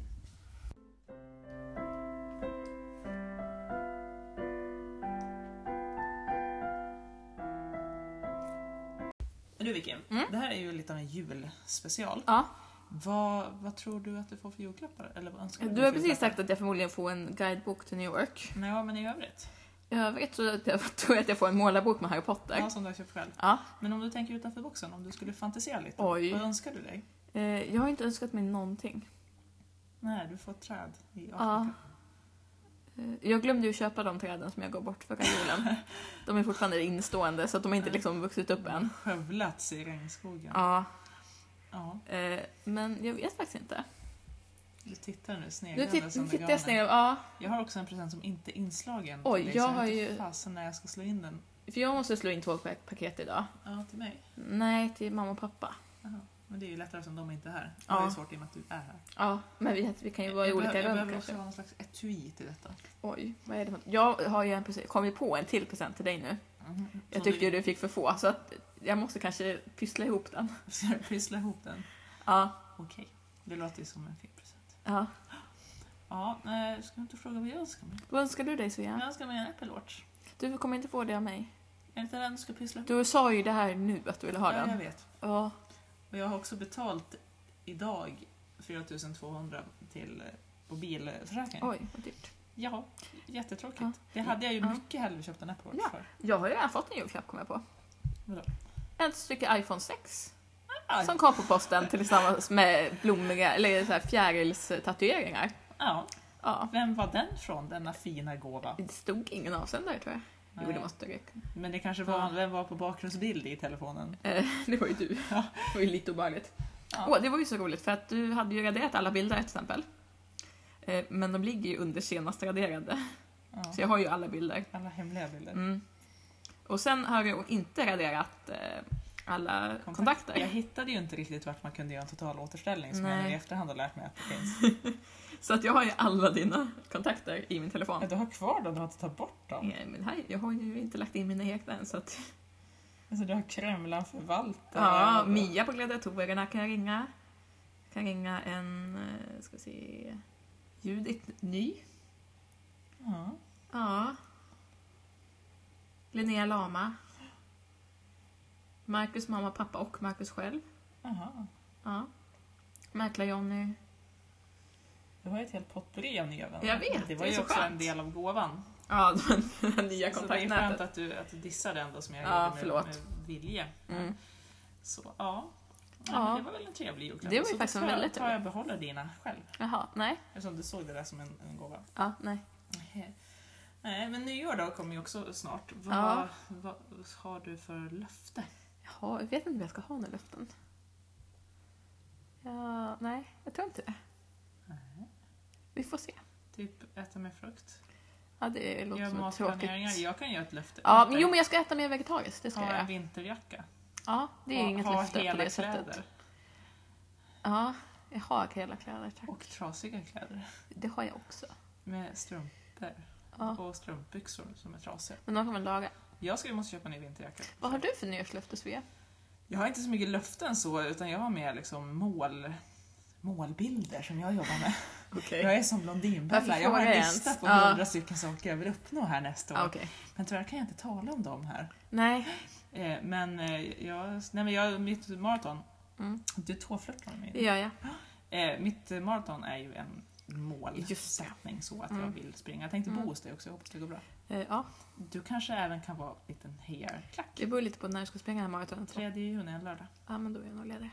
Speaker 1: Men Du Vicky,
Speaker 2: Mm.
Speaker 1: det här är ju lite av en julspecial.
Speaker 2: Ja,
Speaker 1: Vad, vad tror du att du får för julklappar? Eller vad önskar
Speaker 2: du har precis sagt att jag förmodligen får en guidebok till New York.
Speaker 1: Nej, ja, men i övrigt?
Speaker 2: I övrigt så att jag tror jag att jag får en målarbok med Harry Potter.
Speaker 1: Ja, som du har köpt själv.
Speaker 2: Ja.
Speaker 1: Men om du tänker utanför boxen, om du skulle fantisera lite,
Speaker 2: Oj.
Speaker 1: vad önskar du dig?
Speaker 2: Eh, Jag har inte önskat mig någonting.
Speaker 1: Nej, du får ett träd i Afrika.
Speaker 2: Ja. Eh, Jag glömde ju köpa de träden som jag gav bort förra julen. De är fortfarande instående så att de har inte liksom vuxit upp än.
Speaker 1: Skövlats i regnskogen.
Speaker 2: Ja,
Speaker 1: Ja,
Speaker 2: eh, men jag vet faktiskt inte.
Speaker 1: du tittar nu
Speaker 2: Nu
Speaker 1: sneglande
Speaker 2: titt-
Speaker 1: som
Speaker 2: nu tittar jag
Speaker 1: veganen.
Speaker 2: snett. Ja,
Speaker 1: Jag har också en present som inte är inslagen.
Speaker 2: Oj,
Speaker 1: till dig,
Speaker 2: jag
Speaker 1: så
Speaker 2: har
Speaker 1: vet inte
Speaker 2: ju-
Speaker 1: fasen när jag ska slå in den.
Speaker 2: för jag måste slå in två pa- paket idag.
Speaker 1: Ja, till mig.
Speaker 2: Nej, till mamma och pappa.
Speaker 1: Jaha. Men det är ju lättare som de inte är här.
Speaker 2: Ja.
Speaker 1: Det är svårt i och med att du är här.
Speaker 2: Ja, men vi, vi kan ju vara i
Speaker 1: jag
Speaker 2: olika
Speaker 1: behöver, jag
Speaker 2: rum
Speaker 1: behöver
Speaker 2: kanske.
Speaker 1: också ha någon slags etui till detta.
Speaker 2: Oj, vad är det för Jag har ju en present, kom ju på en till present till dig nu.
Speaker 1: Mm.
Speaker 2: Jag tyckte ju du fick för få, så att jag måste kanske pyssla ihop den.
Speaker 1: Ska du pyssla ihop den?
Speaker 2: Ja,
Speaker 1: Okej. Det låter ju som en fin present.
Speaker 2: ja.
Speaker 1: Ja, nej, ska du inte fråga vad jag önskar mig?
Speaker 2: Vad önskar du dig
Speaker 1: Jag
Speaker 2: Svea?
Speaker 1: önskar mig en Apple Watch.
Speaker 2: Du kommer inte få det av mig.
Speaker 1: Är det inte den du ska pyssla ihop?
Speaker 2: Du sa ju det här nu att du ville ha
Speaker 1: Ja, jag
Speaker 2: den.
Speaker 1: vet.
Speaker 2: Ja,
Speaker 1: Och jag har också betalt idag 4200 till eh, mobilförsäkringen.
Speaker 2: oj vad dyrt.
Speaker 1: Ja, jättetråkigt.
Speaker 2: Ja.
Speaker 1: Det hade jag ju
Speaker 2: Ja.
Speaker 1: mycket hellre köpt en Apple Watch
Speaker 2: Ja.
Speaker 1: för.
Speaker 2: Jag har ju redan fått en julklapp kommer jag på.
Speaker 1: Vadå?
Speaker 2: Ett stycke iPhone 6.
Speaker 1: Aj.
Speaker 2: Som kom på posten tillsammans med blommiga, eller så här fjärilstatueringar.
Speaker 1: Ja,
Speaker 2: Ja.
Speaker 1: vem var den från, denna fina gåva?
Speaker 2: Det stod ingen avsändare tror jag. Jo, det
Speaker 1: Nej.
Speaker 2: måste det.
Speaker 1: Men det kanske var,
Speaker 2: Ja.
Speaker 1: vem var på bakgrundsbild i telefonen?
Speaker 2: Eh, Det var ju du.
Speaker 1: Ja.
Speaker 2: Det var ju lite obehagligt.
Speaker 1: Ja.
Speaker 2: Åh, det var ju så roligt för att du hade ju raderat alla bilder till exempel. Eh, Men de ligger ju under senast raderade.
Speaker 1: Ja.
Speaker 2: Så jag har ju alla bilder.
Speaker 1: Alla hemliga bilder.
Speaker 2: Mm. Och sen har jag inte raderat eh, alla
Speaker 1: Kontakt- Jag
Speaker 2: kontakter.
Speaker 1: hittade ju inte riktigt vart man kunde göra en total återställning som jag
Speaker 2: Nej.
Speaker 1: nu i efterhand har lärt mig att det finns.
Speaker 2: Så att jag har ju alla dina kontakter i min telefon.
Speaker 1: Ja, du har kvar dem, du har inte tagit bort dem.
Speaker 2: Eh, Men här, jag har ju inte lagt in mina egna än så att...
Speaker 1: Alltså, du har Kremlan förvaltare.
Speaker 2: Ja,
Speaker 1: och-
Speaker 2: Mia på Gladiatorerna kan jag ringa. Jag kan ringa en, eh, ska vi se, Judith Ny.
Speaker 1: Ja.
Speaker 2: Ja. Linnea Lama. Marcus mamma, pappa och Marcus själv.
Speaker 1: Aha.
Speaker 2: Ja. Mäklar-Jonny.
Speaker 1: Det var ju ett helt potpurri av nya vänner.
Speaker 2: Jag vet,
Speaker 1: det var
Speaker 2: det är
Speaker 1: ju
Speaker 2: så
Speaker 1: också
Speaker 2: skönt.
Speaker 1: en del av gåvan.
Speaker 2: Ja, det
Speaker 1: Så
Speaker 2: nya
Speaker 1: det är skönt
Speaker 2: kontaktnätet.
Speaker 1: att du, att du dissar det ändå som jag
Speaker 2: Ja,
Speaker 1: gjorde med,
Speaker 2: förlåt.
Speaker 1: med vilje.
Speaker 2: Mm.
Speaker 1: Så ja. Ja,
Speaker 2: Ja.
Speaker 1: men Det var väl en trevlig julklapp.
Speaker 2: Det var ju
Speaker 1: Så då
Speaker 2: faktiskt en
Speaker 1: tar jag-
Speaker 2: väldigt
Speaker 1: tar jag behålla dina själv.
Speaker 2: Jaha, nej.
Speaker 1: Eftersom du såg det där som en, en gåva.
Speaker 2: Ja, nej.
Speaker 1: Nej, men nyår då kommer ju också snart. Vad,
Speaker 2: Ja.
Speaker 1: vad har du för löfte?
Speaker 2: Jaha, jag vet inte om jag ska ha några löften. Ja, nej, jag tror inte det. Vi får se.
Speaker 1: Typ äta mer frukt?
Speaker 2: Ja, det låter
Speaker 1: Gör
Speaker 2: som ett tråkigt...
Speaker 1: matplaneringar? Jag kan göra ett löfte.
Speaker 2: Ja,
Speaker 1: åt
Speaker 2: men
Speaker 1: dig.
Speaker 2: jo, men jag ska äta mer vegetariskt. Det ska
Speaker 1: ha
Speaker 2: jag
Speaker 1: en
Speaker 2: göra.
Speaker 1: vinterjacka.
Speaker 2: Ja, det är
Speaker 1: ha,
Speaker 2: inget
Speaker 1: ha
Speaker 2: löfte på
Speaker 1: hela
Speaker 2: det sättet.
Speaker 1: kläder.
Speaker 2: Ja, jag har hela kläder, tack.
Speaker 1: Och trasiga kläder.
Speaker 2: Det har jag också.
Speaker 1: Med strumpor.
Speaker 2: Ja.
Speaker 1: Och strumpbyxor som är trasiga.
Speaker 2: Men de kan man laga.
Speaker 1: Jag ska, måste köpa en ny vinterjacka.
Speaker 2: Vad har du för nyårslöfte, Svea?
Speaker 1: Jag har inte så mycket löften så, utan jag har mer liksom mål, målbilder som jag jobbar med.
Speaker 2: Okej.
Speaker 1: Jag är som Blondinbella,
Speaker 2: Varför
Speaker 1: jag har
Speaker 2: frågar
Speaker 1: en
Speaker 2: jag
Speaker 1: lista
Speaker 2: ens?
Speaker 1: på
Speaker 2: Ja.
Speaker 1: 100 stycken saker jag vill uppnå här nästa år.
Speaker 2: okej.
Speaker 1: Men tyvärr kan jag inte tala om dem här.
Speaker 2: Nej,
Speaker 1: Eh, Men, eh, jag, nej men jag, mitt maraton,
Speaker 2: Mm.
Speaker 1: du tåflörtar med mig.
Speaker 2: det gör jag.
Speaker 1: Eh, mitt eh, maraton är ju en
Speaker 2: Just det.
Speaker 1: målsättning så att jag
Speaker 2: Mm.
Speaker 1: vill springa. Jag tänkte
Speaker 2: Mm.
Speaker 1: bo hos dig också, jag hoppas det går bra.
Speaker 2: Eh, Ja,
Speaker 1: Du kanske även kan vara en liten hejarklack.
Speaker 2: det beror lite på när jag ska springa det här maratonet.
Speaker 1: 3 juni, en lördag.
Speaker 2: Ja, men då är jag nog ledig.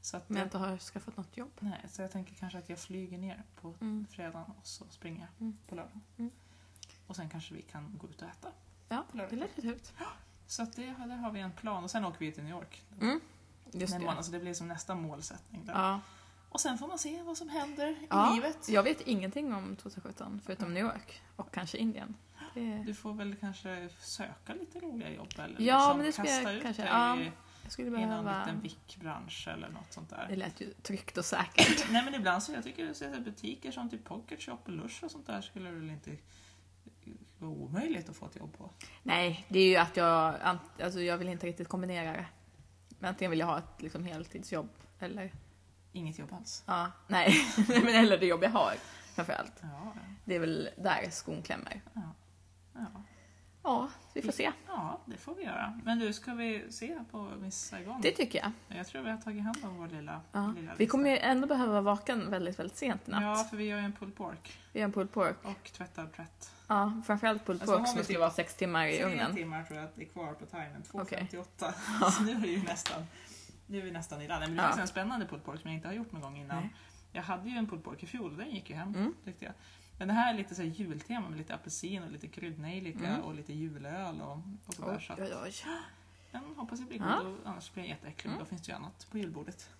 Speaker 1: Så, att,
Speaker 2: Men jag
Speaker 1: eh,
Speaker 2: inte har skaffat något jobb.
Speaker 1: nej, så jag tänker kanske att jag flyger ner på
Speaker 2: Mm.
Speaker 1: fredagen och så springer jag
Speaker 2: Mm.
Speaker 1: på lördagen.
Speaker 2: Mm.
Speaker 1: Och sen kanske vi kan gå ut och äta.
Speaker 2: Ja,
Speaker 1: På lördag.
Speaker 2: det lät ju ut.
Speaker 1: Så att det, där har vi en plan och sen åker vi till New York.
Speaker 2: Mm. Just
Speaker 1: Den
Speaker 2: det.
Speaker 1: månaden, så det blir som nästa målsättning. Där.
Speaker 2: Ja.
Speaker 1: Och sen får man se vad som händer i
Speaker 2: Ja.
Speaker 1: livet.
Speaker 2: Jag vet ingenting om 2017 förutom New York och kanske Indien. Det,
Speaker 1: Du får väl kanske söka lite roliga jobb eller
Speaker 2: Ja,
Speaker 1: liksom
Speaker 2: men det ska
Speaker 1: kasta
Speaker 2: jag
Speaker 1: ut
Speaker 2: kanske-
Speaker 1: dig
Speaker 2: ja, jag skulle
Speaker 1: i någon liten
Speaker 2: behöva...
Speaker 1: vickbransch eller något sånt
Speaker 2: Det
Speaker 1: där.
Speaker 2: lät ju tryggt och säkert.
Speaker 1: Nej men ibland så jag tycker så att butiker som typ Pocket Shop och Lush och sånt där skulle väl inte vara omöjligt att få ett jobb på.
Speaker 2: Nej, det är ju att jag, ant- alltså jag vill inte riktigt kombinera det. Men antingen vill jag ha ett liksom, heltidsjobb eller,
Speaker 1: Inget jobb alls.
Speaker 2: ja, nej, Nej, men eller det jobb jag har framförallt.
Speaker 1: Ja,
Speaker 2: Det är väl där skon klämmer.
Speaker 1: ja, ja.
Speaker 2: Ja, vi får se.
Speaker 1: ja, det får vi göra. Men du, ska vi se på Miss Saigon?
Speaker 2: Det tycker jag.
Speaker 1: Jag tror vi har tagit hand om vår lilla,
Speaker 2: Ja.
Speaker 1: lilla
Speaker 2: Vi kommer ju ändå behöva vara vaken väldigt, väldigt sent i
Speaker 1: natt. Ja,
Speaker 2: natt.
Speaker 1: för vi gör ju en pulled pork
Speaker 2: Vi gör en pulled pork.
Speaker 1: och tvättad tvätt.
Speaker 2: Ja, framförallt pulled
Speaker 1: Alltså, har
Speaker 2: pork
Speaker 1: vi
Speaker 2: som
Speaker 1: typ
Speaker 2: skulle vara sex timmar i
Speaker 1: Tre
Speaker 2: ugnen.
Speaker 1: timmar tror jag att det är kvar på timern, 2.58.
Speaker 2: Okej.
Speaker 1: Så nu är det ju nästan, nu är vi nästan i land. Men det är
Speaker 2: Ja.
Speaker 1: faktiskt en spännande pulled pork som jag inte har gjort någon gång innan.
Speaker 2: Nej.
Speaker 1: Jag hade ju en pulled pork i fjol och den gick ju hem
Speaker 2: Mm.
Speaker 1: tyckte jag. Men det här är lite så här jultema med lite apelsin och lite kryddnejlika
Speaker 2: Mm.
Speaker 1: och lite julöl och, och sådär.
Speaker 2: Oj,
Speaker 1: Så att
Speaker 2: oj, oj.
Speaker 1: den hoppas jag blir
Speaker 2: Ja.
Speaker 1: god och annars blir den jätteäcklig. men Då finns det ju annat på julbordet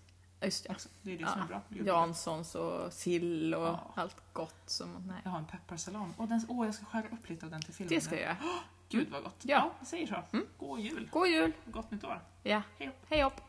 Speaker 2: Just det.
Speaker 1: också. Det är det
Speaker 2: Ja.
Speaker 1: som är bra på julbordet.
Speaker 2: Janssons och sill och
Speaker 1: Ja.
Speaker 2: allt gott som... Nej.
Speaker 1: Jag har en pepparsalam. Och den, åh, jag ska skära upp lite av den till filmen.
Speaker 2: Det ska jag göra.
Speaker 1: Gud vad gott.
Speaker 2: Ja. Mm.
Speaker 1: vi säger så. God jul.
Speaker 2: God jul!
Speaker 1: Gott nytt år.
Speaker 2: Ja.
Speaker 1: Hej då.
Speaker 2: Hej hopp!